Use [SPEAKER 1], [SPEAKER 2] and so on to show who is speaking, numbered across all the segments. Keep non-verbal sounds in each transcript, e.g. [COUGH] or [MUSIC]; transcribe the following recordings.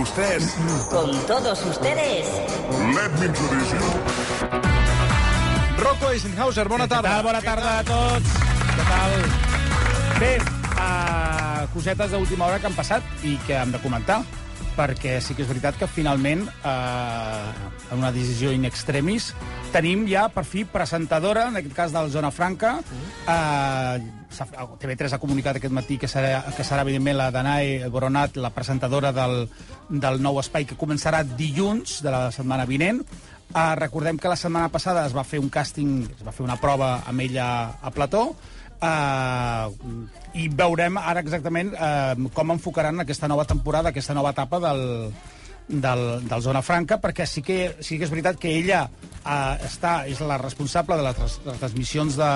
[SPEAKER 1] ustedes.
[SPEAKER 2] Con todos ustedes.
[SPEAKER 1] Let me introduce you.
[SPEAKER 3] Rocco Eisenhauser, bona
[SPEAKER 4] Què
[SPEAKER 3] tarda.
[SPEAKER 4] tal? Bona tarda a tots. Què tal? Bé, uh, cosetes d'última hora que han passat i que hem de comentar, perquè sí que és veritat que finalment, uh, en una decisió in extremis, tenim ja, per fi, presentadora, en aquest cas del Zona Franca. Uh, TV3 ha comunicat aquest matí que serà, que serà evidentment, la Danae Boronat, la presentadora del, del nou espai, que començarà dilluns de la setmana vinent. Uh, recordem que la setmana passada es va fer un càsting, es va fer una prova amb ella a Plató, uh, i veurem ara exactament uh, com enfocaran aquesta nova temporada, aquesta nova etapa del, del, del Zona Franca, perquè sí que, sí que és veritat que ella uh, està, és la responsable de les, trans- de les transmissions de,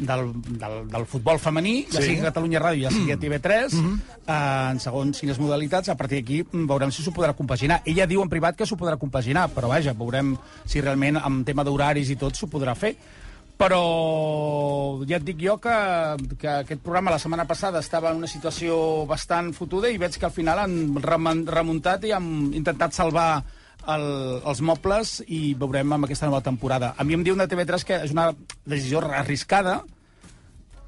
[SPEAKER 4] del, del, del futbol femení, ja sigui a Catalunya Ràdio, ja sigui a TV3, eh, en segons quines modalitats, a partir d'aquí mm, veurem si s'ho podrà compaginar. Ella diu en privat que s'ho podrà compaginar, però vaja, veurem si realment amb tema d'horaris i tot s'ho podrà fer. Però ja et dic jo que, que aquest programa la setmana passada estava en una situació bastant fotuda i veig que al final han remen- remuntat i han intentat salvar el, els mobles i veurem amb aquesta nova temporada. A mi em diu de TV3 que és una decisió arriscada,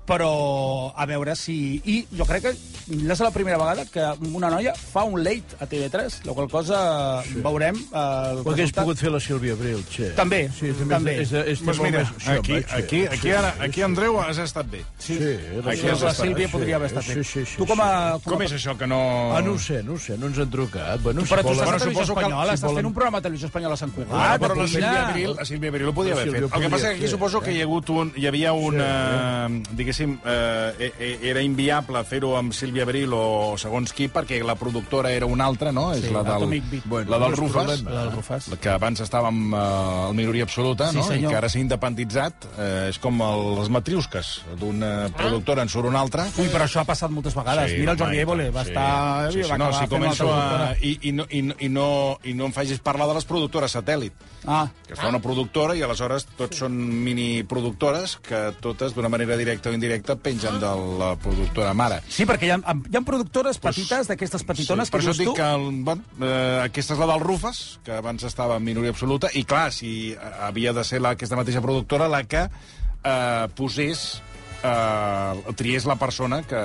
[SPEAKER 4] però a veure si... I jo crec que no és la primera vegada que una noia fa un late a TV3, la qual cosa sí. veurem... Eh, el
[SPEAKER 5] Ho hagués
[SPEAKER 4] resultat.
[SPEAKER 5] pogut fer la Sílvia Abril, che.
[SPEAKER 4] També,
[SPEAKER 5] Sí, també.
[SPEAKER 4] també.
[SPEAKER 5] És, de- és, de
[SPEAKER 3] Doncs
[SPEAKER 5] molt
[SPEAKER 3] mira,
[SPEAKER 5] més-
[SPEAKER 3] aquí,
[SPEAKER 5] home, che.
[SPEAKER 3] aquí, aquí, ara, aquí, Andreu, has estat bé.
[SPEAKER 5] Sí, era
[SPEAKER 3] Aquí
[SPEAKER 5] això.
[SPEAKER 3] és la
[SPEAKER 4] Sílvia
[SPEAKER 5] Sí,
[SPEAKER 4] podria haver estat
[SPEAKER 5] sí,
[SPEAKER 4] bé.
[SPEAKER 5] sí, sí,
[SPEAKER 4] tu com a...
[SPEAKER 3] Com és això que no...
[SPEAKER 5] Ah, no ho sé, no ho sé, no ens han trucat. Bueno,
[SPEAKER 4] Però tu estàs
[SPEAKER 5] volen-
[SPEAKER 4] a
[SPEAKER 3] Bueno,
[SPEAKER 4] Televisió
[SPEAKER 3] suposo que-
[SPEAKER 4] Espanyola,
[SPEAKER 3] si
[SPEAKER 4] estàs
[SPEAKER 3] volen-
[SPEAKER 4] fent un programa a Televisió Espanyola a Sant Cugat.
[SPEAKER 3] Ah, però la
[SPEAKER 4] Pots
[SPEAKER 3] Sílvia
[SPEAKER 4] anar.
[SPEAKER 3] Abril, la Sílvia Abril ho podia
[SPEAKER 5] La
[SPEAKER 3] haver fet.
[SPEAKER 5] Sílvia
[SPEAKER 3] El que
[SPEAKER 5] podria
[SPEAKER 3] passa és que aquí
[SPEAKER 5] fer,
[SPEAKER 3] suposo que hi, ha hagut un, hi havia una... Diguéssim, eh, eh, eh, era inviable fer-ho amb Sílvia Abril o segons qui, perquè la productora era una altra, no? És
[SPEAKER 4] Sí,
[SPEAKER 3] la del,
[SPEAKER 4] Atomic Beat.
[SPEAKER 3] bueno, la del
[SPEAKER 5] no és
[SPEAKER 3] Rufas.
[SPEAKER 5] problema.
[SPEAKER 4] La del Rufas.
[SPEAKER 3] que abans estava amb eh, el minoria absoluta,
[SPEAKER 4] Sí,
[SPEAKER 3] no? I
[SPEAKER 4] senyor.
[SPEAKER 3] que ara s'ha independitzat. Eh, és com el, les matriusques. D'una productora en surt una altra.
[SPEAKER 4] Ui, però això ha passat moltes vegades.
[SPEAKER 3] Sí,
[SPEAKER 4] Mira el Jordi
[SPEAKER 3] home,
[SPEAKER 4] Évole, va
[SPEAKER 3] sí.
[SPEAKER 4] estar...
[SPEAKER 3] Sí, sí,
[SPEAKER 4] va
[SPEAKER 3] no,
[SPEAKER 4] acabar
[SPEAKER 3] si
[SPEAKER 4] fent una
[SPEAKER 3] començo
[SPEAKER 4] altra
[SPEAKER 3] a...
[SPEAKER 4] productora.
[SPEAKER 3] I, i, no, i, no- i, no, I no em facis parlar de les productores satèl·lit.
[SPEAKER 4] Ah,
[SPEAKER 3] que es fa una productora i aleshores tots són miniproductores que totes d'una manera directa o indirecta
[SPEAKER 4] Ah.
[SPEAKER 3] pengen de la productora mare.
[SPEAKER 4] sí, perquè hi ha, hi ha productores petites, d'aquestes petitones
[SPEAKER 3] per
[SPEAKER 4] que
[SPEAKER 3] això
[SPEAKER 4] dius
[SPEAKER 3] dic
[SPEAKER 4] tu...
[SPEAKER 3] que el, bon, eh, aquesta és la del Rufes, que abans estava en minoria absoluta, i clar, si eh, havia de ser la, aquesta mateixa productora la que eh, posés, eh, triés la persona que...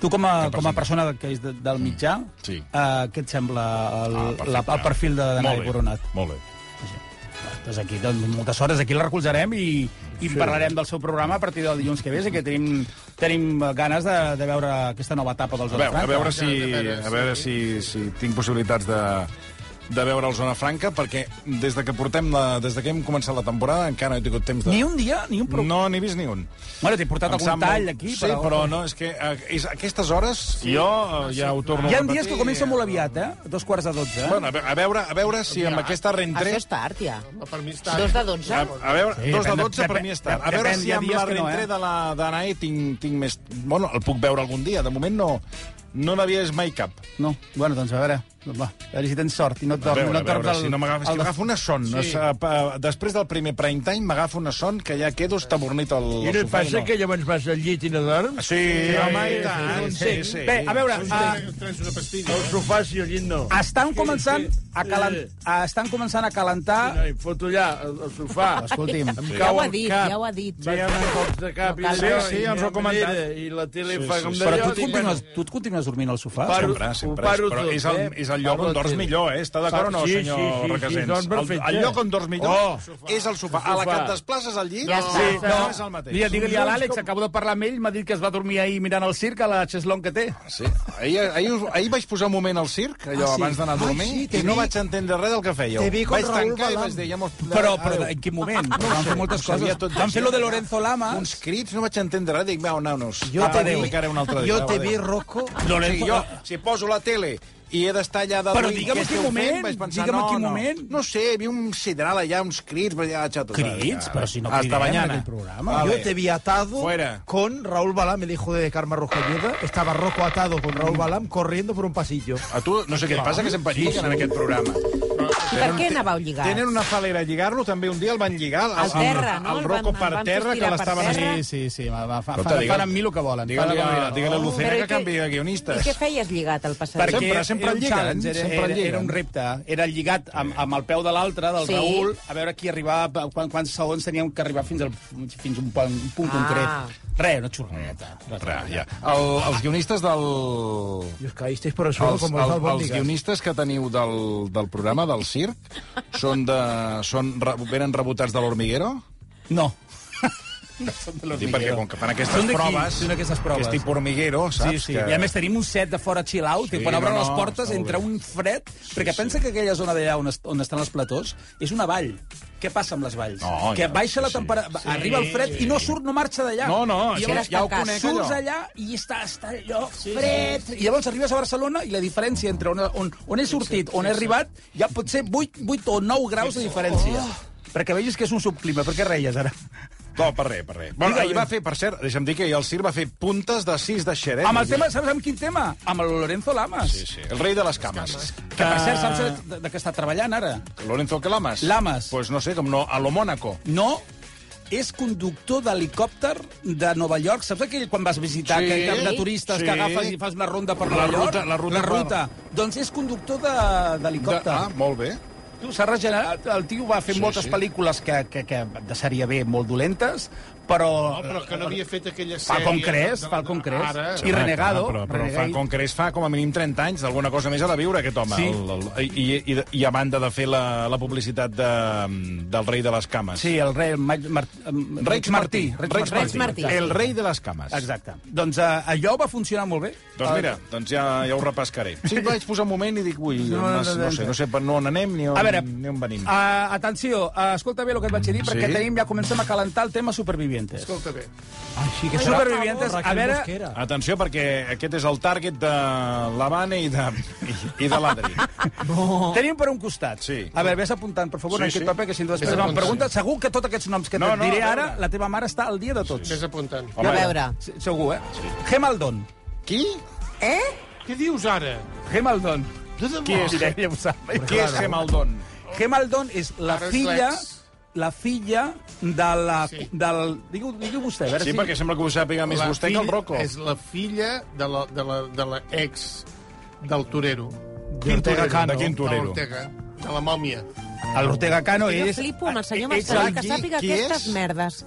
[SPEAKER 4] Tu, com a,
[SPEAKER 3] que
[SPEAKER 4] com a
[SPEAKER 3] presenta.
[SPEAKER 4] persona que és de, del mitjà,
[SPEAKER 3] Sí.
[SPEAKER 4] eh, què et sembla el,
[SPEAKER 3] Ah,
[SPEAKER 4] la,
[SPEAKER 3] perfecte.
[SPEAKER 4] el perfil de Danai
[SPEAKER 3] Molt bé,
[SPEAKER 4] Coronat?
[SPEAKER 3] Molt bé.
[SPEAKER 4] Doncs aquí, doncs, moltes hores, aquí la recolzarem i, i parlarem del seu programa a partir del dilluns que ve, i que tenim, tenim ganes de, de veure aquesta nova etapa del
[SPEAKER 3] A
[SPEAKER 4] Zona
[SPEAKER 3] veure, a
[SPEAKER 4] Franca.
[SPEAKER 3] veure si, a veure si, si tinc possibilitats de, de veure el Zona Franca, perquè des de que portem la, des de que hem començat la temporada encara no he tingut temps de...
[SPEAKER 4] Ni un dia, ni un programa.
[SPEAKER 3] No n'he vist ni un.
[SPEAKER 4] Bueno, t'he portat
[SPEAKER 3] Em sap
[SPEAKER 4] algun tall
[SPEAKER 3] molt-
[SPEAKER 4] aquí,
[SPEAKER 3] Sí, però, no, és que a, és, a aquestes hores sí. jo eh, ja ho torno
[SPEAKER 4] Hi ha
[SPEAKER 3] a repetir.
[SPEAKER 4] dies que comença molt aviat, eh? Dos quarts de dotze. Eh?
[SPEAKER 3] Bueno, a ve- a veure, a veure si amb aquesta
[SPEAKER 6] Això
[SPEAKER 3] rentré...
[SPEAKER 6] és tard, ja.
[SPEAKER 7] Per mi està...
[SPEAKER 6] Dos de
[SPEAKER 3] A,
[SPEAKER 6] dotze.
[SPEAKER 3] a veure,
[SPEAKER 4] Sí,
[SPEAKER 3] dos de
[SPEAKER 4] depèn de-
[SPEAKER 3] 12 per
[SPEAKER 4] depèn-
[SPEAKER 3] mi és tard. A
[SPEAKER 4] depèn,
[SPEAKER 3] veure
[SPEAKER 4] hi
[SPEAKER 3] si
[SPEAKER 4] ha
[SPEAKER 3] amb
[SPEAKER 4] dies
[SPEAKER 3] la
[SPEAKER 4] que no, eh?
[SPEAKER 3] rentré de la d'Anae tinc, tinc més... Bueno, el puc veure algun dia. De moment no, no n'havia vist mai cap.
[SPEAKER 4] No, bueno, doncs a veure, va, a veure si tens sort i no et
[SPEAKER 3] A
[SPEAKER 4] dorm,
[SPEAKER 3] veure,
[SPEAKER 4] no
[SPEAKER 3] a
[SPEAKER 4] et
[SPEAKER 3] veure,
[SPEAKER 4] dorms
[SPEAKER 3] si no m'agafes, que m'agafo una son. Sí. després del primer prime time m'agafo una son que ja quedo estabornit al,
[SPEAKER 5] I
[SPEAKER 3] al
[SPEAKER 5] no et
[SPEAKER 3] sofà.
[SPEAKER 5] passa que llavors vas al llit i no dorms?
[SPEAKER 3] Sí, home, i tant. Sí, sí.
[SPEAKER 4] Bé, a veure, uh,
[SPEAKER 7] Tens una pastilla.
[SPEAKER 5] Al sofà sí, al llit no.
[SPEAKER 4] estan, començant
[SPEAKER 5] sí.
[SPEAKER 4] a calen,
[SPEAKER 5] Sí.
[SPEAKER 4] uh, estan començant a calentar...
[SPEAKER 5] Ai, em foto allà, al, al sofà.
[SPEAKER 4] Escolti'm.
[SPEAKER 5] Em cau
[SPEAKER 3] Sí.
[SPEAKER 6] Ja ho ha
[SPEAKER 5] el
[SPEAKER 6] dit,
[SPEAKER 5] cap.
[SPEAKER 6] ja ho ha dit.
[SPEAKER 5] Vaig anar cops de cap i
[SPEAKER 6] No cal.
[SPEAKER 5] allò,
[SPEAKER 3] Sí, sí,
[SPEAKER 5] i
[SPEAKER 3] ens ho ha
[SPEAKER 5] no hi ha
[SPEAKER 3] comentat.
[SPEAKER 5] manera, I la tele
[SPEAKER 3] Sí,
[SPEAKER 5] fa
[SPEAKER 3] sí,
[SPEAKER 5] com
[SPEAKER 3] sí.
[SPEAKER 5] d'allò.
[SPEAKER 4] Però tu et,
[SPEAKER 5] dic,
[SPEAKER 4] continues,
[SPEAKER 5] bueno,
[SPEAKER 4] tu et continues dormint al sofà?
[SPEAKER 5] Paro-
[SPEAKER 3] Sempre, sempre.
[SPEAKER 5] ho
[SPEAKER 3] És,
[SPEAKER 5] paro
[SPEAKER 3] però
[SPEAKER 5] tot,
[SPEAKER 3] és el,
[SPEAKER 5] eh?
[SPEAKER 3] és el lloc
[SPEAKER 5] Paro
[SPEAKER 3] on dorms
[SPEAKER 5] tot.
[SPEAKER 3] millor, eh? Està d'acord o no,
[SPEAKER 5] Sí, sí,
[SPEAKER 3] senyor
[SPEAKER 5] sí, sí,
[SPEAKER 3] Requesens?
[SPEAKER 5] dorm
[SPEAKER 3] el,
[SPEAKER 5] perfecte.
[SPEAKER 3] el lloc on dorms millor
[SPEAKER 5] Oh.
[SPEAKER 3] és el sofà. A la que et desplaces al llit,
[SPEAKER 6] Ja
[SPEAKER 3] no,
[SPEAKER 6] està.
[SPEAKER 3] no, és el mateix.
[SPEAKER 4] Mira, digue-li a l'Àlex, acabo de parlar amb ell, m'ha dit que es va dormir ahir mirant el circ a la xeslong que té.
[SPEAKER 3] Sí. Ahir, ahir, us- ahir vaig posar un moment al circ, allò
[SPEAKER 4] Ah, sí?
[SPEAKER 3] abans d'anar a
[SPEAKER 4] Ai,
[SPEAKER 3] dormir,
[SPEAKER 4] sí, t'he
[SPEAKER 3] i no
[SPEAKER 4] vist.
[SPEAKER 3] vaig entendre res del que fèieu.
[SPEAKER 4] T'he vist com
[SPEAKER 3] vaig
[SPEAKER 4] Raül
[SPEAKER 3] tancar i
[SPEAKER 4] Balam.
[SPEAKER 3] vaig dir... Ja mos...
[SPEAKER 4] Però, però en quin moment? No van fer moltes
[SPEAKER 3] sabia
[SPEAKER 4] coses.
[SPEAKER 3] tot de
[SPEAKER 4] Van fer
[SPEAKER 3] gent.
[SPEAKER 4] lo de Lorenzo Lama.
[SPEAKER 3] Uns crits, no vaig entendre res, dic, va, anau-nos.
[SPEAKER 4] Jo
[SPEAKER 3] Apa,
[SPEAKER 4] te
[SPEAKER 3] adéu,
[SPEAKER 4] vi-
[SPEAKER 3] encara un altre dia.
[SPEAKER 4] jo
[SPEAKER 3] va,
[SPEAKER 4] te
[SPEAKER 3] adéu.
[SPEAKER 4] vi,
[SPEAKER 6] Rocco.
[SPEAKER 3] Sí, jo, ah, si poso la tele i he d'estar allà de
[SPEAKER 4] Però
[SPEAKER 3] ruïn,
[SPEAKER 4] digue'm
[SPEAKER 3] què
[SPEAKER 4] en quin
[SPEAKER 3] esteu
[SPEAKER 4] moment,
[SPEAKER 3] fent? Vaig pensar,
[SPEAKER 4] digue'm en
[SPEAKER 3] no,
[SPEAKER 4] quin
[SPEAKER 3] no.
[SPEAKER 4] moment.
[SPEAKER 3] No sé, hi havia un sidral allà, uns crits, però ja, xato,
[SPEAKER 4] Crits? Però si no
[SPEAKER 3] Hasta
[SPEAKER 4] cridem en
[SPEAKER 3] mañana.
[SPEAKER 4] aquell programa.
[SPEAKER 3] Vale.
[SPEAKER 8] Yo te vi atado
[SPEAKER 3] Fuera.
[SPEAKER 8] con Raúl Balam, el hijo de Karma Roja Ayuda. Estaba Rocco atado con Raúl Balam corriendo por un pasillo.
[SPEAKER 3] A tu, no sé què et passa, que sempre lliguen en aquest programa.
[SPEAKER 7] Però
[SPEAKER 6] I per què anàveu lligats?
[SPEAKER 3] Tenen una falera a lligar-lo, també un dia el van lligar.
[SPEAKER 6] Al terra, no? El
[SPEAKER 3] El,
[SPEAKER 6] van-
[SPEAKER 3] el Rocco
[SPEAKER 6] el
[SPEAKER 3] per
[SPEAKER 6] van
[SPEAKER 3] terra, que
[SPEAKER 6] sostirar per
[SPEAKER 3] l'estaven
[SPEAKER 6] terra.
[SPEAKER 3] així.
[SPEAKER 4] Sí, sí, sí, va, va, fa,
[SPEAKER 3] Escolta,
[SPEAKER 4] fan,
[SPEAKER 3] digue'l-
[SPEAKER 4] fan amb mi el que volen. fan amb
[SPEAKER 3] Digue-li
[SPEAKER 4] mi el
[SPEAKER 3] a,
[SPEAKER 4] que volen.
[SPEAKER 3] digue a Lucena
[SPEAKER 6] Però i
[SPEAKER 3] que
[SPEAKER 6] què-
[SPEAKER 3] canvi de
[SPEAKER 6] I
[SPEAKER 3] guionistes.
[SPEAKER 6] què feies lligat al passadís?
[SPEAKER 4] Perquè
[SPEAKER 3] Sempre, sempre
[SPEAKER 4] era
[SPEAKER 3] el
[SPEAKER 4] un
[SPEAKER 3] lliguen,
[SPEAKER 4] challenge, era,
[SPEAKER 3] sempre el
[SPEAKER 4] era, era
[SPEAKER 3] lliguen.
[SPEAKER 4] un repte. Era el lligat amb, amb el peu de l'altre, del
[SPEAKER 6] Sí.
[SPEAKER 4] sí. Raül, a veure qui arribava, quan, quants segons teníem que arribar fins, al, fins a un punt, un punt
[SPEAKER 6] Ah.
[SPEAKER 4] concret. Re, una xurreta.
[SPEAKER 3] Ra, ja. el, els guionistes del...
[SPEAKER 8] Y os caísteis por el suelo
[SPEAKER 3] Els,
[SPEAKER 8] como
[SPEAKER 3] el,
[SPEAKER 8] las
[SPEAKER 3] els
[SPEAKER 8] albóndigas.
[SPEAKER 3] guionistes que teniu del, del programa, del circ, són de, són, re- venen rebotats de l'Hormiguero?
[SPEAKER 4] No. no som de
[SPEAKER 3] Sí,
[SPEAKER 4] l'Hormiguero.
[SPEAKER 3] perquè com que fan aquestes
[SPEAKER 4] Són d'aquí,
[SPEAKER 3] proves,
[SPEAKER 4] són d'aquestes proves.
[SPEAKER 3] que és tipus Hormiguero,
[SPEAKER 4] Sí,
[SPEAKER 3] saps?
[SPEAKER 4] sí.
[SPEAKER 3] Que...
[SPEAKER 4] I a més tenim un set de fora chill-out, sí,
[SPEAKER 3] Sí,
[SPEAKER 4] quan obren
[SPEAKER 3] no,
[SPEAKER 4] les
[SPEAKER 3] no,
[SPEAKER 4] portes
[SPEAKER 3] està molt
[SPEAKER 4] entra
[SPEAKER 3] bé.
[SPEAKER 4] un fred, perquè
[SPEAKER 3] sí.
[SPEAKER 4] pensa que aquella zona d'allà on, est on estan els platós és una vall. Què passa amb les valls?
[SPEAKER 3] No,
[SPEAKER 4] que
[SPEAKER 3] ja,
[SPEAKER 4] baixa la
[SPEAKER 3] sí, sí.
[SPEAKER 4] temperatura, arriba el fred i no surt, no marxa d'allà.
[SPEAKER 3] No, no,
[SPEAKER 4] I
[SPEAKER 3] això
[SPEAKER 4] llavors
[SPEAKER 3] ja ho
[SPEAKER 6] tancat.
[SPEAKER 3] conec,
[SPEAKER 4] surts
[SPEAKER 3] allò.
[SPEAKER 4] allà i està, està allò fred. I llavors arribes a Barcelona i la diferència entre on, on, on he sortit, on he arribat, ja pot ser 8, 8 o 9 graus de diferència.
[SPEAKER 3] Oh.
[SPEAKER 4] Perquè vegis que és un subclima. Per què reies, ara?
[SPEAKER 3] No, per res, per res. Bueno,
[SPEAKER 4] Digue-li.
[SPEAKER 3] ahir va fer, per cert, deixa'm dir que ahir el circ va fer puntes de 6 de xerès.
[SPEAKER 4] Amb el tema, saps amb quin tema? Amb el Lorenzo Lamas.
[SPEAKER 3] Sí, sí, el rei de les cames.
[SPEAKER 4] Que, per cert, saps de- de, de què està treballant ara?
[SPEAKER 3] Lorenzo que l'ames?
[SPEAKER 4] Lamas.
[SPEAKER 3] Pues no sé, com no, a lo Mónaco.
[SPEAKER 4] No, és conductor d'helicòpter de Nova York. Saps aquell quan vas visitar
[SPEAKER 3] Sí.
[SPEAKER 4] sí, aquell camp de turistes
[SPEAKER 3] Sí.
[SPEAKER 4] que agafes i fas una ronda per Nova
[SPEAKER 3] La
[SPEAKER 4] York?
[SPEAKER 3] ruta- la ruta
[SPEAKER 4] La
[SPEAKER 3] per-
[SPEAKER 4] ruta. Doncs és conductor de-
[SPEAKER 3] De,
[SPEAKER 4] d'helicòpter.
[SPEAKER 3] ah, molt bé.
[SPEAKER 4] Tu s'ha regenerat, el tio va fer
[SPEAKER 3] Sí,
[SPEAKER 4] sí, moltes
[SPEAKER 3] sí.
[SPEAKER 4] sí. pel·lícules que, que, que de sèrie B molt dolentes, però...
[SPEAKER 7] No, però que no havia fet aquella sèrie...
[SPEAKER 4] Falcon Crest,
[SPEAKER 7] de- de-
[SPEAKER 4] Falcon Crest.
[SPEAKER 7] Ara...
[SPEAKER 4] I Renegado,
[SPEAKER 3] Ah, Clar, però, però
[SPEAKER 4] Renegade.
[SPEAKER 3] Falcon Crest fa com a mínim 30 anys d'alguna cosa més ha de viure, aquest home.
[SPEAKER 4] Sí.
[SPEAKER 3] El, el, i, i, I a banda de fer la, la publicitat de, del rei de les cames.
[SPEAKER 4] Sí, el rei... Mike Mar...
[SPEAKER 3] Reig Martí.
[SPEAKER 4] Reig Martí.
[SPEAKER 6] Martí.
[SPEAKER 3] El rei de les cames.
[SPEAKER 4] Exacte. Doncs eh, allò va funcionar molt bé.
[SPEAKER 3] Doncs mira, doncs ja, ja ho repescaré. Sí, vaig posar un moment i dic, ui, no, no, no, no, sé, no sé per on anem ni on,
[SPEAKER 4] A veure,
[SPEAKER 3] Mm, ni on venim.
[SPEAKER 4] Uh, atenció, uh, escolta bé el que et vaig dir,
[SPEAKER 3] Mm, Sí.
[SPEAKER 4] perquè tenim, ja comencem a calentar el tema Supervivientes.
[SPEAKER 7] Escolta bé,
[SPEAKER 8] Així que
[SPEAKER 4] Que
[SPEAKER 8] serà
[SPEAKER 4] Supervivientes, a
[SPEAKER 8] Raquel
[SPEAKER 4] veure...
[SPEAKER 8] Mosquera.
[SPEAKER 3] Atenció, perquè aquest és el target de l'Havana i de, i, i de [LAUGHS] l'Adri.
[SPEAKER 4] Tenim per un costat.
[SPEAKER 3] Oh. Sí.
[SPEAKER 4] A veure, vés apuntant, per favor,
[SPEAKER 3] Sí,
[SPEAKER 4] en aquest
[SPEAKER 3] sí.
[SPEAKER 4] paper, que si no després
[SPEAKER 7] Vés
[SPEAKER 4] em
[SPEAKER 7] apuntant.
[SPEAKER 4] pregunta, segur que tots aquests noms que
[SPEAKER 3] No,
[SPEAKER 4] et
[SPEAKER 3] no,
[SPEAKER 4] diré
[SPEAKER 3] a veure.
[SPEAKER 4] ara, la teva mare està al dia de tots.
[SPEAKER 7] vés apuntant.
[SPEAKER 6] A veure.
[SPEAKER 4] Sí, Segur, eh? Sí. Gemaldon.
[SPEAKER 3] Qui?
[SPEAKER 6] Eh?
[SPEAKER 7] Què dius ara?
[SPEAKER 4] Gemaldon.
[SPEAKER 7] De debò?
[SPEAKER 3] Qui és?
[SPEAKER 4] Ella ho sap.
[SPEAKER 3] Qui és Gemaldon?
[SPEAKER 4] Gemaldon és la
[SPEAKER 7] Ara és
[SPEAKER 4] filla
[SPEAKER 7] l'ex.
[SPEAKER 4] la filla de la...
[SPEAKER 7] Sí.
[SPEAKER 4] Del, digue-ho digue vostè, a veure
[SPEAKER 3] Sí,
[SPEAKER 4] si...
[SPEAKER 3] perquè sembla que ho sàpiga més
[SPEAKER 7] La
[SPEAKER 3] vostè que el
[SPEAKER 7] filla-
[SPEAKER 3] Rocco.
[SPEAKER 7] És la filla de la, de la, de la ex del Torero.
[SPEAKER 8] De Ortega Cano.
[SPEAKER 3] De quin
[SPEAKER 7] De
[SPEAKER 3] torero?
[SPEAKER 7] l'Ortega, de la mòmia.
[SPEAKER 4] El Ortega Cano
[SPEAKER 6] Jo
[SPEAKER 4] és...
[SPEAKER 6] flipo amb el senyor
[SPEAKER 4] ets
[SPEAKER 6] Mascaró,
[SPEAKER 3] el
[SPEAKER 6] que
[SPEAKER 3] qui-
[SPEAKER 6] sàpiga
[SPEAKER 3] qui
[SPEAKER 6] aquestes
[SPEAKER 3] és?
[SPEAKER 6] merdes.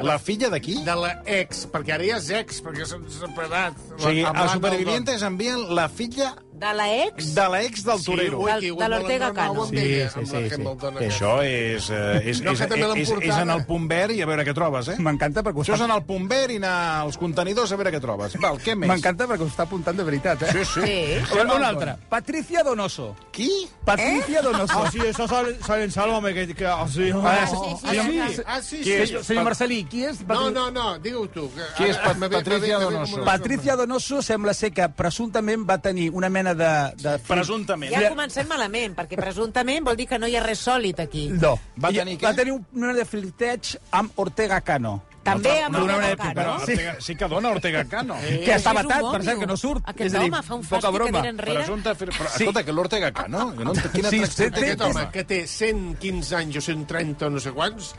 [SPEAKER 3] La filla de qui?
[SPEAKER 7] De la ex, perquè ara ja és ex, perquè s'han separat.
[SPEAKER 3] O sigui,
[SPEAKER 7] Amb
[SPEAKER 3] a
[SPEAKER 7] l'Anna
[SPEAKER 3] Supervivientes envien la filla
[SPEAKER 6] De la ex?
[SPEAKER 3] de l'ex del
[SPEAKER 7] Sí,
[SPEAKER 3] torero.
[SPEAKER 7] ui,
[SPEAKER 6] Del-
[SPEAKER 7] que hi ha
[SPEAKER 6] de l'Ortega
[SPEAKER 7] hagut molt enrenou
[SPEAKER 6] Cano.
[SPEAKER 7] amb ella,
[SPEAKER 4] Sí,
[SPEAKER 7] amb
[SPEAKER 4] sí,
[SPEAKER 7] la
[SPEAKER 4] sí, sí.
[SPEAKER 7] Hambledon
[SPEAKER 3] Que
[SPEAKER 7] aquesta.
[SPEAKER 3] això és, eh, és,
[SPEAKER 7] No,
[SPEAKER 3] és,
[SPEAKER 7] que també l'han
[SPEAKER 3] és, és
[SPEAKER 7] portat,
[SPEAKER 3] en el
[SPEAKER 7] eh?
[SPEAKER 3] punt verd i a veure què trobes, eh?
[SPEAKER 4] M'encanta perquè ho està...
[SPEAKER 3] Això és en el punt verd i anar als contenidors a veure què trobes. Val, què més?
[SPEAKER 4] M'encanta perquè ho està apuntant de veritat, eh?
[SPEAKER 3] Sí, sí.
[SPEAKER 6] Sí.
[SPEAKER 4] A veure, una altra. Patricia Donoso.
[SPEAKER 3] Qui?
[SPEAKER 4] Patricia Donoso.
[SPEAKER 5] O sigui, això sol, solen Salome, que... que o sigui,
[SPEAKER 4] Ah,
[SPEAKER 6] sí, sí,
[SPEAKER 7] Ah, sí,
[SPEAKER 6] sí.
[SPEAKER 7] ah, sí,
[SPEAKER 3] Qui
[SPEAKER 7] sí.
[SPEAKER 3] és?
[SPEAKER 4] Senyor, senyor Marcelí, qui és?
[SPEAKER 7] No,
[SPEAKER 4] Patri-
[SPEAKER 7] no, no, digue-ho tu. que
[SPEAKER 3] Qui és
[SPEAKER 7] ara-
[SPEAKER 3] Pat-
[SPEAKER 7] m'ha ve-
[SPEAKER 3] Patricia
[SPEAKER 7] m'ha ve- m'ha ve
[SPEAKER 3] Donoso?
[SPEAKER 7] com una
[SPEAKER 4] Patricia Donoso sembla ser que presumptament va tenir una mena de... de...
[SPEAKER 3] Presumptament.
[SPEAKER 6] Ja comencem malament, perquè presumptament vol dir que no hi ha res sòlid aquí.
[SPEAKER 4] No.
[SPEAKER 3] Va tenir què?
[SPEAKER 4] va tenir un- una mena de flirteig amb Ortega Cano.
[SPEAKER 6] També amb
[SPEAKER 4] d'una
[SPEAKER 6] el
[SPEAKER 4] manera
[SPEAKER 6] Ortega
[SPEAKER 3] Però
[SPEAKER 6] Cano.
[SPEAKER 4] Sí.
[SPEAKER 3] Ortega, sí que dona Ortega Cano.
[SPEAKER 4] Que està
[SPEAKER 6] és un
[SPEAKER 4] matat, per
[SPEAKER 6] mòbil.
[SPEAKER 4] cert, que no surt.
[SPEAKER 6] Aquest
[SPEAKER 4] És a dir,
[SPEAKER 6] home fa un
[SPEAKER 4] poca
[SPEAKER 6] fàstic que
[SPEAKER 4] broma.
[SPEAKER 6] tira enrere.
[SPEAKER 3] Presumpta, fer... Però,
[SPEAKER 4] Sí.
[SPEAKER 3] escolta, que l'Ortega Cano... Jo no entenc quina
[SPEAKER 4] Sí,
[SPEAKER 3] tracta-
[SPEAKER 4] té-
[SPEAKER 7] Aquest home, que té 115 anys o 130 o no sé quants,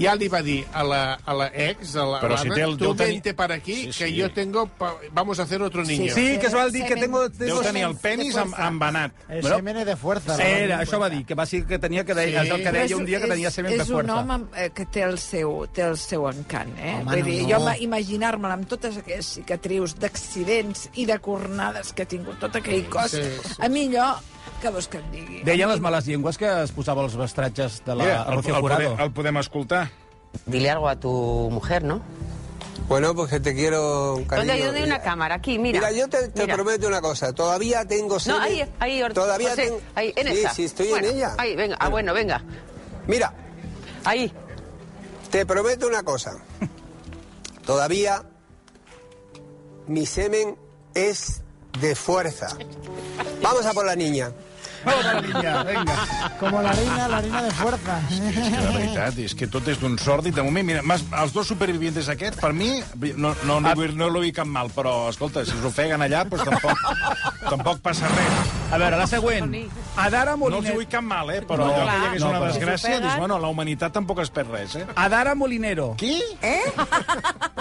[SPEAKER 7] ja li va dir a la, a la ex, a la
[SPEAKER 3] Però
[SPEAKER 7] a
[SPEAKER 3] si
[SPEAKER 7] l'Anna,
[SPEAKER 3] té el-
[SPEAKER 7] tu
[SPEAKER 3] deu tenir-
[SPEAKER 7] vente para aquí,
[SPEAKER 3] Sí,
[SPEAKER 7] que
[SPEAKER 3] sí.
[SPEAKER 7] yo tengo... pa- Vamos a hacer otro niño.
[SPEAKER 4] Sí, que es va dir que tengo...
[SPEAKER 3] Deu
[SPEAKER 4] tengo
[SPEAKER 3] tenir el penis amb, embanat.
[SPEAKER 8] Es
[SPEAKER 4] Bueno.
[SPEAKER 8] semen de fuerza.
[SPEAKER 4] Sí, era, això va dir, que va ser que tenia que deia,
[SPEAKER 7] Sí.
[SPEAKER 4] el que
[SPEAKER 9] Però és-
[SPEAKER 4] deia un dia que tenia semen
[SPEAKER 9] és,
[SPEAKER 4] de
[SPEAKER 9] És un
[SPEAKER 4] fuerza.
[SPEAKER 9] home eh, que té el seu, té el seu encant, eh?
[SPEAKER 8] Home,
[SPEAKER 9] Vull
[SPEAKER 8] no,
[SPEAKER 9] dir,
[SPEAKER 8] no.
[SPEAKER 9] jo ma- imaginar-me'l amb totes aquelles cicatrius d'accidents i de cornades que ha tingut tot aquell cos,
[SPEAKER 7] sí, sí.
[SPEAKER 9] a mi allò, que vols que et digui?
[SPEAKER 4] Deien les males llengües que es posava els vestratges de la
[SPEAKER 3] Mira, el,
[SPEAKER 4] Rocío
[SPEAKER 3] el,
[SPEAKER 4] Jurado.
[SPEAKER 3] podem, el podem escoltar.
[SPEAKER 2] Dile algo a tu mujer, ¿no?
[SPEAKER 10] Bueno, pues que te quiero, cariño.
[SPEAKER 11] Oiga, yo doy una cámara, aquí, mira.
[SPEAKER 10] Mira, yo te, te
[SPEAKER 11] Mira.
[SPEAKER 10] prometo una cosa. Todavía tengo
[SPEAKER 11] No,
[SPEAKER 10] semen.
[SPEAKER 11] ahí, ahí, Ortiz,
[SPEAKER 10] Todavía
[SPEAKER 11] José,
[SPEAKER 10] tengo...
[SPEAKER 11] ahí, en
[SPEAKER 10] sí,
[SPEAKER 11] esa.
[SPEAKER 10] sí, estoy
[SPEAKER 11] Bueno,
[SPEAKER 10] en ella.
[SPEAKER 11] Ahí, venga, ah, bueno, venga.
[SPEAKER 10] Mira,
[SPEAKER 11] Ahí.
[SPEAKER 10] te prometo una cosa. Todavía mi semen es de fuerza. Vamos a por la niña.
[SPEAKER 4] Toma, niña, venga.
[SPEAKER 12] Como la reina, la reina de fuerza.
[SPEAKER 3] És que, de veritat, és que tot és d'un sòrdid. De moment, mira, mas, els dos supervivientes aquest, per mi, no, no,
[SPEAKER 4] Ah.
[SPEAKER 3] no, vull- no, no vull cap mal, però, escolta, si us ofeguen allà, doncs
[SPEAKER 4] [LAUGHS]
[SPEAKER 3] tampoc, tampoc passa res.
[SPEAKER 4] A veure, la següent. Adara
[SPEAKER 3] No els
[SPEAKER 4] Molinet...
[SPEAKER 3] vull cap mal, eh? Però
[SPEAKER 4] No,
[SPEAKER 3] allò
[SPEAKER 4] clar.
[SPEAKER 3] que hi hagués
[SPEAKER 4] No,
[SPEAKER 3] una
[SPEAKER 4] però-
[SPEAKER 3] desgràcia,
[SPEAKER 4] Si
[SPEAKER 3] dius,
[SPEAKER 4] s'ofeguen-
[SPEAKER 3] bueno, la humanitat tampoc es perd res, eh?
[SPEAKER 4] Adara Molinero.
[SPEAKER 3] Qui?
[SPEAKER 4] Eh?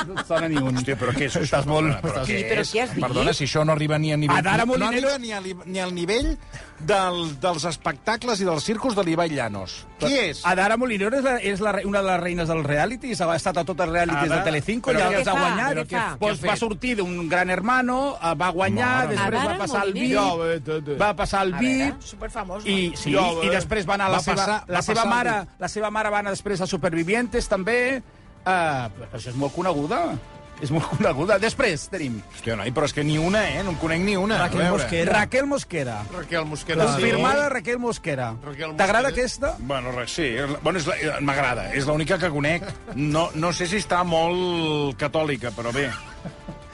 [SPEAKER 4] No et sona ni un. Hòstia,
[SPEAKER 3] però què és això?
[SPEAKER 4] Estàs molt...
[SPEAKER 3] Perdona, però
[SPEAKER 4] estàs-
[SPEAKER 3] què Eh, Sí, però és? què has dit? Perdona, si això no arriba ni a nivell-
[SPEAKER 4] Adara
[SPEAKER 3] no
[SPEAKER 4] Molinero...
[SPEAKER 3] arriba ni, a, li- ni al nivell del, dels espectacles i dels circus de l'Ibai Llanos. Qui és?
[SPEAKER 4] Adara Molinero és, la, és la, re- una de les reines del reality, ha estat a totes les realities
[SPEAKER 3] Adara-
[SPEAKER 4] de Telecinco,
[SPEAKER 3] però
[SPEAKER 4] ja
[SPEAKER 3] què
[SPEAKER 4] els ha
[SPEAKER 3] fa?
[SPEAKER 4] guanyat.
[SPEAKER 3] Però què- què ha
[SPEAKER 4] Doncs va
[SPEAKER 3] fet?
[SPEAKER 4] sortir d'un gran hermano, eh, va guanyar,
[SPEAKER 3] Mare
[SPEAKER 4] després
[SPEAKER 3] meva.
[SPEAKER 4] va passar el
[SPEAKER 9] Molinero.
[SPEAKER 5] Ja, bé, tot,
[SPEAKER 4] VIP,
[SPEAKER 5] eh.
[SPEAKER 4] va passar el VIP,
[SPEAKER 9] Superfamoso.
[SPEAKER 4] i, sí,
[SPEAKER 5] Ja, bé.
[SPEAKER 3] eh.
[SPEAKER 4] i després va anar la
[SPEAKER 5] Va
[SPEAKER 4] seva,
[SPEAKER 5] passar-
[SPEAKER 4] la
[SPEAKER 5] va
[SPEAKER 4] seva
[SPEAKER 5] passar el
[SPEAKER 4] mare,
[SPEAKER 5] VIP.
[SPEAKER 4] la seva mare va anar després a Supervivientes també. Uh, això és molt coneguda. És molt coneguda. Després tenim
[SPEAKER 3] Hòstia, noi, però és que ni una, eh? No en conec ni una.
[SPEAKER 4] Raquel
[SPEAKER 3] A veure.
[SPEAKER 4] Mosquera. Raquel Mosquera.
[SPEAKER 7] Raquel Mosquera.
[SPEAKER 4] Confirmada Raquel Mosquera.
[SPEAKER 7] Raquel
[SPEAKER 4] T'agrada
[SPEAKER 7] Mosquera.
[SPEAKER 4] aquesta?
[SPEAKER 3] Bueno, re- sí, és la- bueno, és la- eh, m'agrada, és l'única que conec. No, no sé si està molt catòlica, però bé.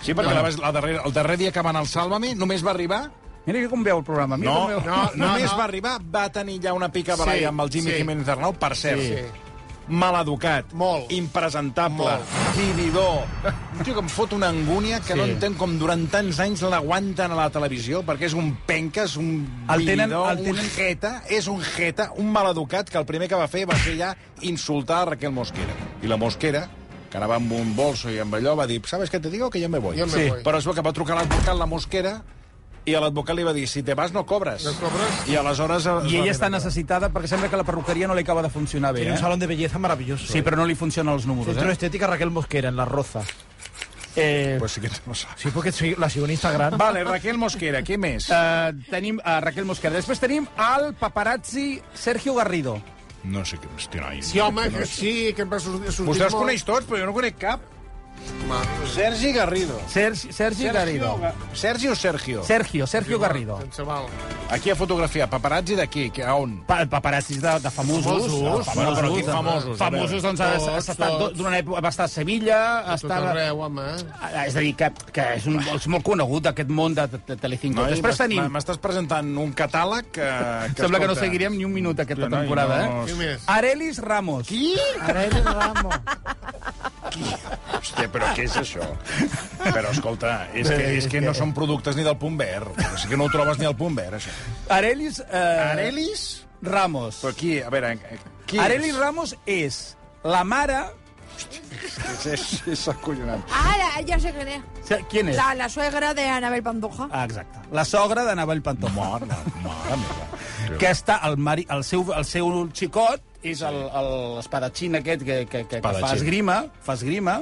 [SPEAKER 3] Sí, perquè la, vas- la darrera, el darrer dia que van al Sálvame només va arribar...
[SPEAKER 4] Mira com veu el programa. Mira
[SPEAKER 3] No,
[SPEAKER 4] com veu.
[SPEAKER 3] no, no, només va arribar, va tenir ja una pica baralla
[SPEAKER 4] Sí,
[SPEAKER 3] sí, amb el Jimmy
[SPEAKER 4] sí.
[SPEAKER 3] sí. Jiménez Arnau, per cert.
[SPEAKER 4] Sí.
[SPEAKER 3] Sí. Maleducat, Molt. impresentable, timidor. Un tio que em fot una angúnia que
[SPEAKER 4] Sí.
[SPEAKER 3] sí. no entenc com durant tants anys l'aguanten a la televisió, perquè és un penques, un
[SPEAKER 4] El tenen-
[SPEAKER 3] vividor,
[SPEAKER 4] el tenen-
[SPEAKER 3] un jeta, és un jeta, un maleducat, que el primer que va fer va ser ja insultar a Raquel Mosquera. I la Mosquera, que anava amb un bolso i amb allò, va dir, ¿sabes qué te digo? Que yo me voy.
[SPEAKER 7] Yo me Sí. voy.
[SPEAKER 3] Però es veu que va trucar a l'advocat la Mosquera i a l'advocat li va dir, si te vas no cobres. No
[SPEAKER 7] cobres.
[SPEAKER 3] I aleshores... eh, es
[SPEAKER 4] I
[SPEAKER 3] va
[SPEAKER 4] ella està
[SPEAKER 3] fer-
[SPEAKER 4] necessitada perquè sembla que la perruqueria no li acaba de funcionar bé.
[SPEAKER 8] Tiene
[SPEAKER 4] Eh?
[SPEAKER 8] un salón de belleza maravilloso.
[SPEAKER 4] Sí, pero no le funcionan los números.
[SPEAKER 8] Centro de
[SPEAKER 4] ¿eh?
[SPEAKER 8] estética Raquel Mosquera, en La Roza. Eh,
[SPEAKER 3] Pues sí que te lo sabes.
[SPEAKER 8] sí, porque soy- la sigo en Instagram.
[SPEAKER 3] Vale, Raquel Mosquera, qui més?
[SPEAKER 4] Eh, tenim a Raquel Mosquera. Després tenim al paparazzi Sergio Garrido.
[SPEAKER 3] No sé què més té, noi.
[SPEAKER 7] Sí, home, que sí, que em va sortir sortir
[SPEAKER 3] Vostè els
[SPEAKER 7] molt.
[SPEAKER 3] coneix tots, però jo no conec cap. Sergi Garrido.
[SPEAKER 4] Sergi, Sergi Garrido.
[SPEAKER 3] Sergi o Sergio?
[SPEAKER 4] Sergio, Sergio Garrido.
[SPEAKER 7] Sense val.
[SPEAKER 3] Aquí a fotografia, paparazzi d'aquí, que- a on?
[SPEAKER 4] Pa paparazzis de, de famosos. Ah,
[SPEAKER 3] Famosos?
[SPEAKER 4] De
[SPEAKER 3] Bueno, però quins
[SPEAKER 4] de-
[SPEAKER 3] famosos? A veure.
[SPEAKER 4] Famosos, doncs, ha-
[SPEAKER 7] Tots,
[SPEAKER 4] ha estat
[SPEAKER 7] tots.
[SPEAKER 4] d'una època... Va estar a Sevilla, ha
[SPEAKER 7] Tot
[SPEAKER 4] estat...
[SPEAKER 7] arreu, home. eh?
[SPEAKER 4] Ah, És a dir, que, que és, un, és molt conegut, aquest món de, de Telecinco.
[SPEAKER 3] Noi,
[SPEAKER 4] Després
[SPEAKER 3] m'est-
[SPEAKER 4] tenim...
[SPEAKER 3] M'estàs presentant un catàleg que... que
[SPEAKER 4] Sembla que no
[SPEAKER 3] escolta,
[SPEAKER 4] seguiríem ni un minut aquesta
[SPEAKER 3] Hòstia, noi,
[SPEAKER 4] temporada,
[SPEAKER 3] no.
[SPEAKER 7] Qui
[SPEAKER 4] eh?
[SPEAKER 7] més?
[SPEAKER 4] Arelis Ramos. Qui?
[SPEAKER 12] Aurelio Ramos.
[SPEAKER 3] Hòstia, però què és això? Però escolta, és
[SPEAKER 4] Eh,
[SPEAKER 3] que, és que no són productes ni del punt verd. És que no ho trobes ni al punt verd, això.
[SPEAKER 4] Arelis... Eh,
[SPEAKER 3] Arelis?
[SPEAKER 4] Ramos.
[SPEAKER 3] Però qui, a veure, eh, qui
[SPEAKER 4] Arelis
[SPEAKER 3] és?
[SPEAKER 4] Ramos és la mare...
[SPEAKER 3] És, és, és acollonant.
[SPEAKER 9] Ahora, ya sé quién es.
[SPEAKER 4] Qui és?
[SPEAKER 9] La, la suegra de Anabel Pantoja.
[SPEAKER 4] Ah, exacte. La sogra d'Anabel Pantoja.
[SPEAKER 3] Mare, mare meva.
[SPEAKER 4] que està el, mari, el, seu, el seu xicot, és el- el- l'espadatxín aquest que, que, que, que fa
[SPEAKER 3] Espadatxín.
[SPEAKER 4] esgrima, fa esgrima,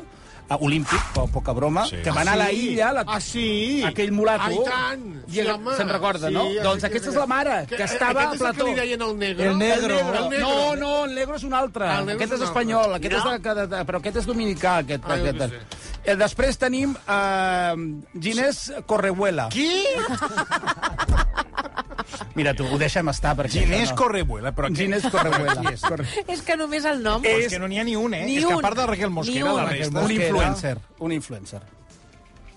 [SPEAKER 4] a olímpic, po, poca broma,
[SPEAKER 3] Sí.
[SPEAKER 4] sí. que va anar a la illa, la,
[SPEAKER 7] Ah, sí?
[SPEAKER 4] aquell mulato.
[SPEAKER 7] Ah, i tant!
[SPEAKER 4] I el- se'n recorda, no? Doncs aquesta és la mare, que estava a
[SPEAKER 7] aquest Aquest és el
[SPEAKER 4] plató.
[SPEAKER 7] que li deien el negro?
[SPEAKER 8] El negro.
[SPEAKER 7] El negro.
[SPEAKER 4] No, no, el negro és un altre.
[SPEAKER 7] Ah, el negro
[SPEAKER 4] Aquest és
[SPEAKER 7] és un altre.
[SPEAKER 4] espanyol, aquest és de, de, de, però aquest és dominicà. Aquest,
[SPEAKER 7] Ah, jo
[SPEAKER 4] aquest,
[SPEAKER 7] què
[SPEAKER 4] Eh, Després tenim eh, Ginés Correbuela. Qui? [LAUGHS] Mira, tu, ho deixem estar. Perquè,
[SPEAKER 3] Ginés Correbuela, però què?
[SPEAKER 4] Ginés Correbuela.
[SPEAKER 3] Qui és?
[SPEAKER 6] És que només el nom...
[SPEAKER 3] Però és que no n'hi ha ni un, eh?
[SPEAKER 6] Ni
[SPEAKER 3] és que a
[SPEAKER 6] un.
[SPEAKER 3] part de Raquel
[SPEAKER 6] Ni
[SPEAKER 3] Mosquera,
[SPEAKER 6] un.
[SPEAKER 3] la
[SPEAKER 6] Raquel
[SPEAKER 3] resta...
[SPEAKER 4] Un influencer, un influencer.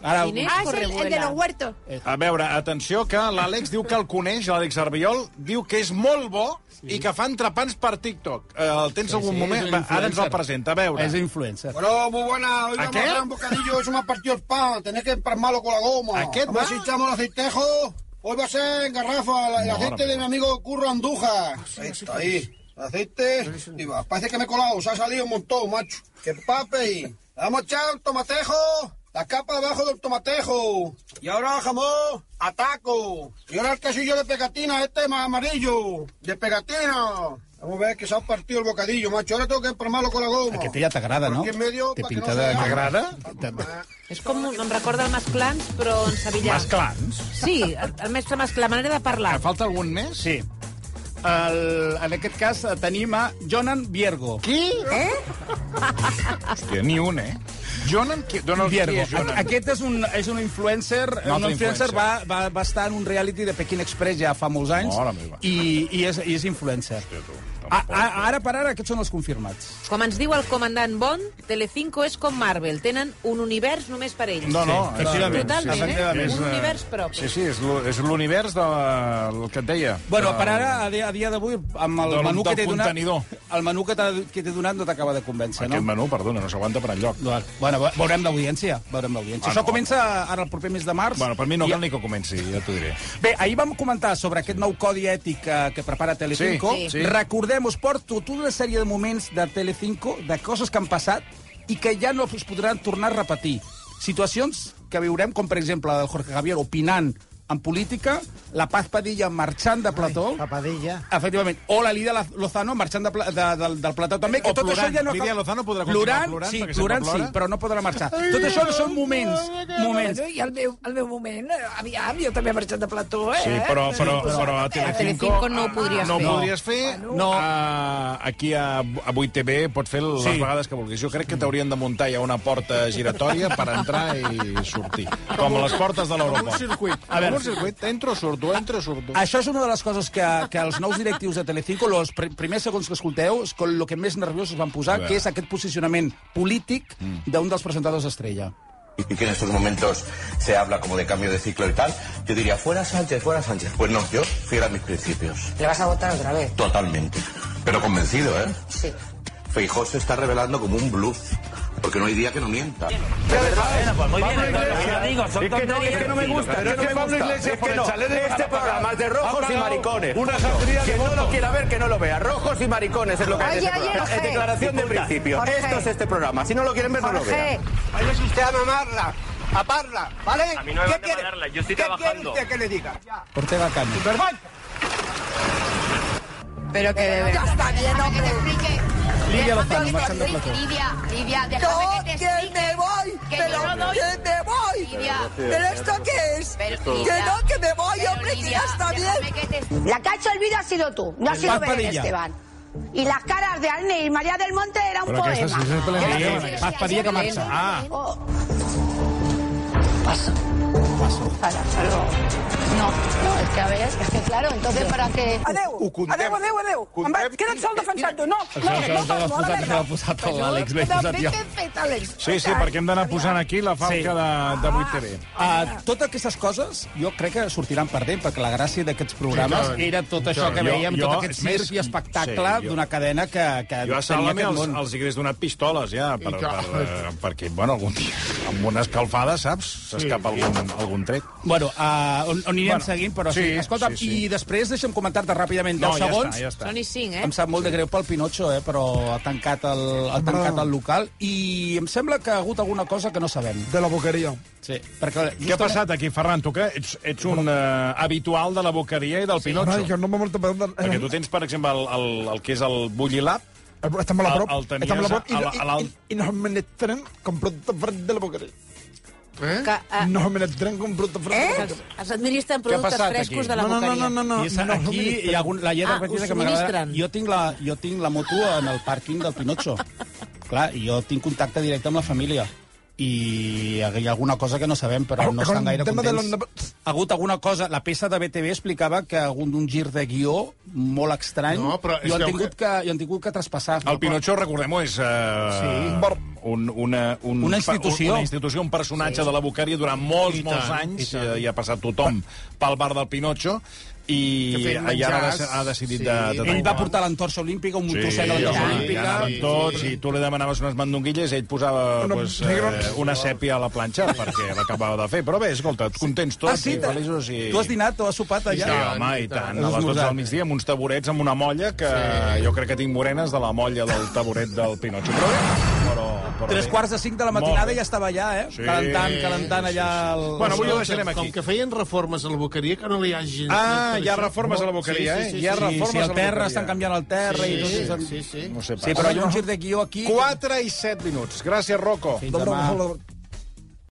[SPEAKER 4] Ara,
[SPEAKER 6] Ginés
[SPEAKER 9] Ah, es el,
[SPEAKER 6] Correbuela.
[SPEAKER 9] el de los huertos.
[SPEAKER 3] A veure, atenció, que l'Àlex diu que el coneix, l'Àlex Arbiol, diu que és molt bo sí. i que fa entrepans per TikTok. Eh, el tens sí, algun
[SPEAKER 4] sí,
[SPEAKER 3] moment?
[SPEAKER 4] és un
[SPEAKER 3] Va, ara ens el
[SPEAKER 4] influencer.
[SPEAKER 3] presenta, a veure.
[SPEAKER 4] és influencer.
[SPEAKER 13] Bueno, muy buena. Hoy vamos
[SPEAKER 3] qué?
[SPEAKER 13] a dar un bocadillo. Eso me ha partido el pan. Tenés que empalmarlo con la goma.
[SPEAKER 3] ¿A qué
[SPEAKER 13] Vamos
[SPEAKER 3] va?
[SPEAKER 13] si echamos el aceitejo. Hoy va a ser en garrafa. la- El,
[SPEAKER 3] No,
[SPEAKER 13] aceite
[SPEAKER 3] ahora
[SPEAKER 13] de
[SPEAKER 3] no.
[SPEAKER 13] mi amigo Curro Andújar. Ahí está, ahí. El aceite. Y va. Parece que me he colado. Se ha salido un montón, macho. Que pape. y- Vamos a echar el tomatejo. La capa abajo del tomatejo. Y ahora jamón. Ataco. Y ahora el quesillo de pegatina. Este más amarillo. De pegatina. Vamos a ver que se ha partido el bocadillo, macho. Ahora tengo que empalmarlo con la goma.
[SPEAKER 4] Aquest ja t'agrada, no?
[SPEAKER 13] Aquí en medio,
[SPEAKER 4] Té
[SPEAKER 13] pa que
[SPEAKER 4] pinta
[SPEAKER 13] no
[SPEAKER 4] de...
[SPEAKER 13] se vea.
[SPEAKER 6] És com... un- Em recorda el Masclans, però en Sevilla.
[SPEAKER 4] Masclans?
[SPEAKER 6] Sí, el, el mestre Masclans, la manera de parlar.
[SPEAKER 3] Falta algun més?
[SPEAKER 4] Sí. El, en aquest cas eh, tenim a Jonan Viergo.
[SPEAKER 3] Qui? Eh? Hòstia, ni un, eh? Jonan, qui, Donald,
[SPEAKER 4] Viergo.
[SPEAKER 3] qui és Jonan?
[SPEAKER 4] A- Aquest és un, és un influencer. Un,
[SPEAKER 3] altre
[SPEAKER 4] influencer,
[SPEAKER 3] influencer.
[SPEAKER 4] Va, va, va estar en un reality de Peking Express ja fa molts anys.
[SPEAKER 3] Mare meva.
[SPEAKER 4] I, i, és, i és influencer.
[SPEAKER 3] Hòstia, tu,
[SPEAKER 4] A, a, ara per ara, aquests són els confirmats.
[SPEAKER 3] Ah.
[SPEAKER 6] Com ens diu el comandant Bond, Telecinco és com Marvel. Tenen un univers només per ells.
[SPEAKER 3] No, no,
[SPEAKER 6] Sí,
[SPEAKER 3] efectivament,
[SPEAKER 6] Totalment,
[SPEAKER 3] sí,
[SPEAKER 6] eh?
[SPEAKER 3] és,
[SPEAKER 6] un
[SPEAKER 3] eh,
[SPEAKER 6] univers propi.
[SPEAKER 3] Sí, sí, és l'u- és l'univers del que et deia.
[SPEAKER 4] Bueno,
[SPEAKER 3] De-
[SPEAKER 4] per ara, a dia, a dia d'avui, amb el
[SPEAKER 3] Del-
[SPEAKER 4] menú que
[SPEAKER 3] del
[SPEAKER 4] t'he donat...
[SPEAKER 3] contenidor.
[SPEAKER 4] El menú que t'ha- que t'he donat no t'acaba de convèncer,
[SPEAKER 3] Aquest
[SPEAKER 4] no?
[SPEAKER 3] menú, perdona, no s'aguanta per enlloc.
[SPEAKER 4] Val. Bueno, ve- veurem l'audiència. Veurem l'audiència.
[SPEAKER 3] Bueno,
[SPEAKER 4] Això comença ara el proper mes de març.
[SPEAKER 3] Ah, Bueno, per mi no
[SPEAKER 4] I-
[SPEAKER 3] cal ni que comenci, ja t'ho diré.
[SPEAKER 4] Bé, ahir vam comentar sobre aquest nou codi ètic que, que prepara Telecinco.
[SPEAKER 3] Sí, sí.
[SPEAKER 4] Recordem, us porto tota una sèrie de moments de Telecinco, de coses que han passat i que ja no es podran tornar a repetir. Situacions que viurem, com per exemple la del Jorge Javier opinant en política, la Paz Padilla marxant de plató... Ai, Padilla. Efectivament. O la Lidia Lozano marxant de, pla, de, de, del plató també. Que
[SPEAKER 3] O
[SPEAKER 4] tot
[SPEAKER 3] Eh, plorant.
[SPEAKER 4] això ja no...
[SPEAKER 3] Lidia Lozano podrà continuar
[SPEAKER 4] plorant,
[SPEAKER 3] plorant,
[SPEAKER 4] sí,
[SPEAKER 3] perquè sempre
[SPEAKER 4] plorant, sí,
[SPEAKER 3] plora.
[SPEAKER 4] però no podrà marxar. Tot això són moments, moments.
[SPEAKER 9] I el meu, el meu moment, eh, aviam, jo també he marxat de plató, eh?
[SPEAKER 3] Sí, però, però, però a Telecinco...
[SPEAKER 9] Telecinco no ho podries
[SPEAKER 3] no
[SPEAKER 9] fer.
[SPEAKER 3] No ho podries fer. No. A, aquí a, a 8TV pots fer les
[SPEAKER 7] Sí.
[SPEAKER 3] vegades que vulguis. Jo crec que t'haurien de muntar ja una porta giratòria per entrar i sortir. Com a les portes de l'aeroport.
[SPEAKER 7] Com un circuit.
[SPEAKER 3] A veure,
[SPEAKER 7] Com
[SPEAKER 3] un circuit. Entro, surto, entro, surto.
[SPEAKER 4] Això és una de les coses que, que els nous directius de Telecinco, els pr primers segons que escolteu, és con lo que més nerviosos van
[SPEAKER 14] A
[SPEAKER 4] posar,
[SPEAKER 14] veure.
[SPEAKER 4] que és aquest posicionament polític d'un dels presentadors estrella.
[SPEAKER 14] y que en estos momentos se habla como de cambio de ciclo y tal, yo diría, fuera Sánchez, fuera Sánchez. Pues no, yo fiel a mis principios.
[SPEAKER 15] ¿Le vas a votar otra vez?
[SPEAKER 14] Totalmente. Pero convencido, ¿eh?
[SPEAKER 15] Sí.
[SPEAKER 14] Feijó se está revelando como un bluff, porque no hay día que no mienta.
[SPEAKER 16] Muy bien,
[SPEAKER 14] Pablo
[SPEAKER 16] entonces,
[SPEAKER 14] Iglesias.
[SPEAKER 16] ya digo, son
[SPEAKER 14] Es que no,
[SPEAKER 16] tonterías.
[SPEAKER 14] es que no me gusta,
[SPEAKER 16] Pero
[SPEAKER 14] es que Pablo Iglesias por el chalet de
[SPEAKER 16] Este
[SPEAKER 14] Palapa
[SPEAKER 16] programa es de
[SPEAKER 14] ha
[SPEAKER 16] rojos y
[SPEAKER 14] pagado
[SPEAKER 16] maricones.
[SPEAKER 14] una
[SPEAKER 16] Punto.
[SPEAKER 14] sangría de
[SPEAKER 16] Quien no
[SPEAKER 14] votos.
[SPEAKER 16] lo quiera ver, que no lo vea. Rojos y maricones es lo que hay en
[SPEAKER 14] Oye,
[SPEAKER 16] este
[SPEAKER 14] oye,
[SPEAKER 16] programa. Es
[SPEAKER 14] Jorge.
[SPEAKER 16] declaración de
[SPEAKER 14] Disculpa.
[SPEAKER 16] principio.
[SPEAKER 14] Jorge.
[SPEAKER 16] Esto es este programa. Si no lo quieren ver, no lo vean.
[SPEAKER 14] Vaya usted a mamarla, a parla, ¿vale?
[SPEAKER 16] A mí no me van a mamarla, yo estoy trabajando.
[SPEAKER 14] que le diga?
[SPEAKER 4] Ortega Cano.
[SPEAKER 15] Pero que de verdad.
[SPEAKER 17] que te explique.
[SPEAKER 4] Lidia
[SPEAKER 17] Déjame
[SPEAKER 4] Lozano,
[SPEAKER 17] que te
[SPEAKER 4] marxant de plató.
[SPEAKER 17] explique, Lidia, Lidia, déjame
[SPEAKER 9] No,
[SPEAKER 17] que te
[SPEAKER 9] que
[SPEAKER 17] explique.
[SPEAKER 9] me voy,
[SPEAKER 17] Que
[SPEAKER 9] pero
[SPEAKER 17] yo no doy.
[SPEAKER 9] que me voy.
[SPEAKER 17] Lidia.
[SPEAKER 9] ¿Pero esto qué es?
[SPEAKER 17] Pero,
[SPEAKER 9] que
[SPEAKER 17] Lidia,
[SPEAKER 9] no, que me voy,
[SPEAKER 17] pero,
[SPEAKER 9] hombre, que
[SPEAKER 17] Lidia,
[SPEAKER 9] ya está
[SPEAKER 17] déjame
[SPEAKER 9] bien.
[SPEAKER 17] que te-
[SPEAKER 15] La cacha olvida ha sido tú, no ha
[SPEAKER 17] Paz
[SPEAKER 15] sido Belén
[SPEAKER 4] Padilla.
[SPEAKER 15] Esteban. Y las caras de Arne y María del Monte era un
[SPEAKER 4] Però
[SPEAKER 15] poema.
[SPEAKER 4] aquesta sí, és Belén
[SPEAKER 15] Era-
[SPEAKER 4] Esteban, aquesta. Paz Padilla que marxa. Ah.
[SPEAKER 15] Oh. Paso. Paso. Para, para luego. No, no, es que a ver, es que claro, entonces para que...
[SPEAKER 9] Adeu, adeu, adeu, adeu. Em vaig, queda't sol defensant-ho. No,
[SPEAKER 3] Això, això,
[SPEAKER 9] no, no,
[SPEAKER 3] això
[SPEAKER 9] no,
[SPEAKER 3] l'has
[SPEAKER 9] no,
[SPEAKER 3] posat, l'ha posat l'Àlex, l'he posat jo. Sí, sí, perquè hem d'anar posant aquí la falca
[SPEAKER 4] Sí.
[SPEAKER 3] de, de 8TV.
[SPEAKER 4] Uh, totes aquestes coses jo crec que sortiran perdent, perquè la gràcia d'aquests
[SPEAKER 3] Sí,
[SPEAKER 4] programes
[SPEAKER 3] clar.
[SPEAKER 4] sí, era tot
[SPEAKER 3] Sí,
[SPEAKER 4] això
[SPEAKER 3] clar.
[SPEAKER 4] que
[SPEAKER 3] Jo-
[SPEAKER 4] veiem,
[SPEAKER 3] jo,
[SPEAKER 4] tot aquest
[SPEAKER 3] és més,
[SPEAKER 4] circ i espectacle
[SPEAKER 3] sí, jo-
[SPEAKER 4] d'una cadena que, que
[SPEAKER 3] Jo a
[SPEAKER 4] tenia
[SPEAKER 3] Sálvame
[SPEAKER 4] aquest
[SPEAKER 3] els,
[SPEAKER 4] món.
[SPEAKER 3] els hi hagués donat pistoles, ja, per,
[SPEAKER 4] I
[SPEAKER 3] per,
[SPEAKER 4] clar.
[SPEAKER 3] eh, perquè, bueno, algun dia, amb una escalfada, saps? S'escapa algun, algun tret.
[SPEAKER 4] Bueno, uh, on, on anirem bueno,
[SPEAKER 3] Bueno,
[SPEAKER 4] seguint, però sí,
[SPEAKER 3] sí,
[SPEAKER 4] Escolta,
[SPEAKER 3] sí, sí.
[SPEAKER 4] i després deixa'm comentar-te ràpidament 10
[SPEAKER 3] No, ja
[SPEAKER 4] segons.
[SPEAKER 3] està, ja està.
[SPEAKER 6] Són i cinc, eh?
[SPEAKER 4] Em sap molt de greu pel Pinotxo, eh, però ha tancat, el, ha tancat el local i em sembla que ha hagut alguna cosa que no sabem. De la boqueria. Sí, perquè...
[SPEAKER 3] Què ha passat aquí, Ferran? Tu que ets, ets un uh, habitual de la boqueria i del sí, Pinotxo.
[SPEAKER 8] Ai, que no m'ha mort...
[SPEAKER 3] Perquè tu tens, per exemple, el, el, el que és el Bullilab.
[SPEAKER 8] Està molt a prop.
[SPEAKER 3] El, el tenies
[SPEAKER 8] està molt a prop. I,
[SPEAKER 3] a la- a
[SPEAKER 8] i,
[SPEAKER 3] l'alt-
[SPEAKER 8] i, i no me n'estren com producte fred de la boqueria.
[SPEAKER 6] Eh? Que, eh,
[SPEAKER 8] No me n'estren com producte fred de la
[SPEAKER 6] eh?
[SPEAKER 8] boqueria.
[SPEAKER 6] Es administren productes frescos de la boqueria.
[SPEAKER 4] I és, aquí hi ha algun, la llet
[SPEAKER 6] Ah,
[SPEAKER 4] argentina
[SPEAKER 6] us
[SPEAKER 4] que m'agrada.
[SPEAKER 6] subministren.
[SPEAKER 4] Jo, tinc la- jo tinc la moto en el pàrquing del Pinotxo. Clar, i jo tinc contacte directe amb la família. I hi ha alguna cosa que no sabem, però no estan gaire
[SPEAKER 8] tema de
[SPEAKER 4] contents. Ha hagut alguna cosa... La peça de BTV explicava que ha hagut un gir de guió molt estrany
[SPEAKER 3] No, però
[SPEAKER 4] i
[SPEAKER 3] és
[SPEAKER 4] ho han
[SPEAKER 3] que-
[SPEAKER 4] tingut que, i ho han tingut que traspassar.
[SPEAKER 3] El Pinotxo, recordem-ho, és uh, sí. un, una, un,
[SPEAKER 4] Una institució.
[SPEAKER 3] una institució, un personatge sí. de la Boqueria durant molts,
[SPEAKER 4] I
[SPEAKER 3] molts
[SPEAKER 4] tant, i
[SPEAKER 3] anys.
[SPEAKER 4] tant.
[SPEAKER 3] eh, Hi ha passat tothom pel bar del Pinotxo i,
[SPEAKER 4] Que
[SPEAKER 3] i
[SPEAKER 4] feien
[SPEAKER 3] ara
[SPEAKER 4] menjars,
[SPEAKER 3] ha, ha decidit
[SPEAKER 4] sí.
[SPEAKER 3] sí. de, de...
[SPEAKER 4] Ell va portar l'entorxa olímpica, un
[SPEAKER 3] Sí,
[SPEAKER 4] motorcet a
[SPEAKER 3] home,
[SPEAKER 4] l'entorxa
[SPEAKER 3] hi
[SPEAKER 4] olímpica.
[SPEAKER 3] anaven tots, i tu li demanaves unes mandonguilles i ell posava
[SPEAKER 4] Una-
[SPEAKER 3] pues, eh, una sèpia a la planxa perquè l'acabava de fer. Però bé, escolta, contents tots
[SPEAKER 4] Ah, sí?
[SPEAKER 3] i feliços. I...
[SPEAKER 4] Tu has dinat o has sopat allà?
[SPEAKER 3] Sí, home, i
[SPEAKER 4] Has
[SPEAKER 3] tant. A les 12
[SPEAKER 4] esmorzat.
[SPEAKER 3] del migdia, amb uns taburets, amb una molla, que sí. jo crec que tinc morenes de la molla del taburet del Pinotxo. Però bé, però, però
[SPEAKER 4] Tres
[SPEAKER 3] bé. Ah,
[SPEAKER 4] quarts de cinc de la
[SPEAKER 3] Molt
[SPEAKER 4] matinada
[SPEAKER 3] bé.
[SPEAKER 4] ja estava allà, eh?
[SPEAKER 3] Sí.
[SPEAKER 4] Calentant, calentant allà... El...
[SPEAKER 3] Bueno, avui ho deixarem aquí.
[SPEAKER 7] Com que feien reformes a la boqueria, que no li hagin...
[SPEAKER 3] Ah, hi ha reformes a la boqueria, eh? Hi ha reformes
[SPEAKER 4] sí,
[SPEAKER 3] a
[SPEAKER 4] el
[SPEAKER 3] la
[SPEAKER 4] terra,
[SPEAKER 3] boqueria.
[SPEAKER 4] estan canviant el terra
[SPEAKER 3] Sí,
[SPEAKER 4] i tot
[SPEAKER 3] sí,
[SPEAKER 4] això.
[SPEAKER 3] sí, sí. No sé
[SPEAKER 4] Sí, però hi ha un gir de guió aquí...
[SPEAKER 3] 4 i 7 minuts. Gràcies, Rocco.
[SPEAKER 4] Fins demà.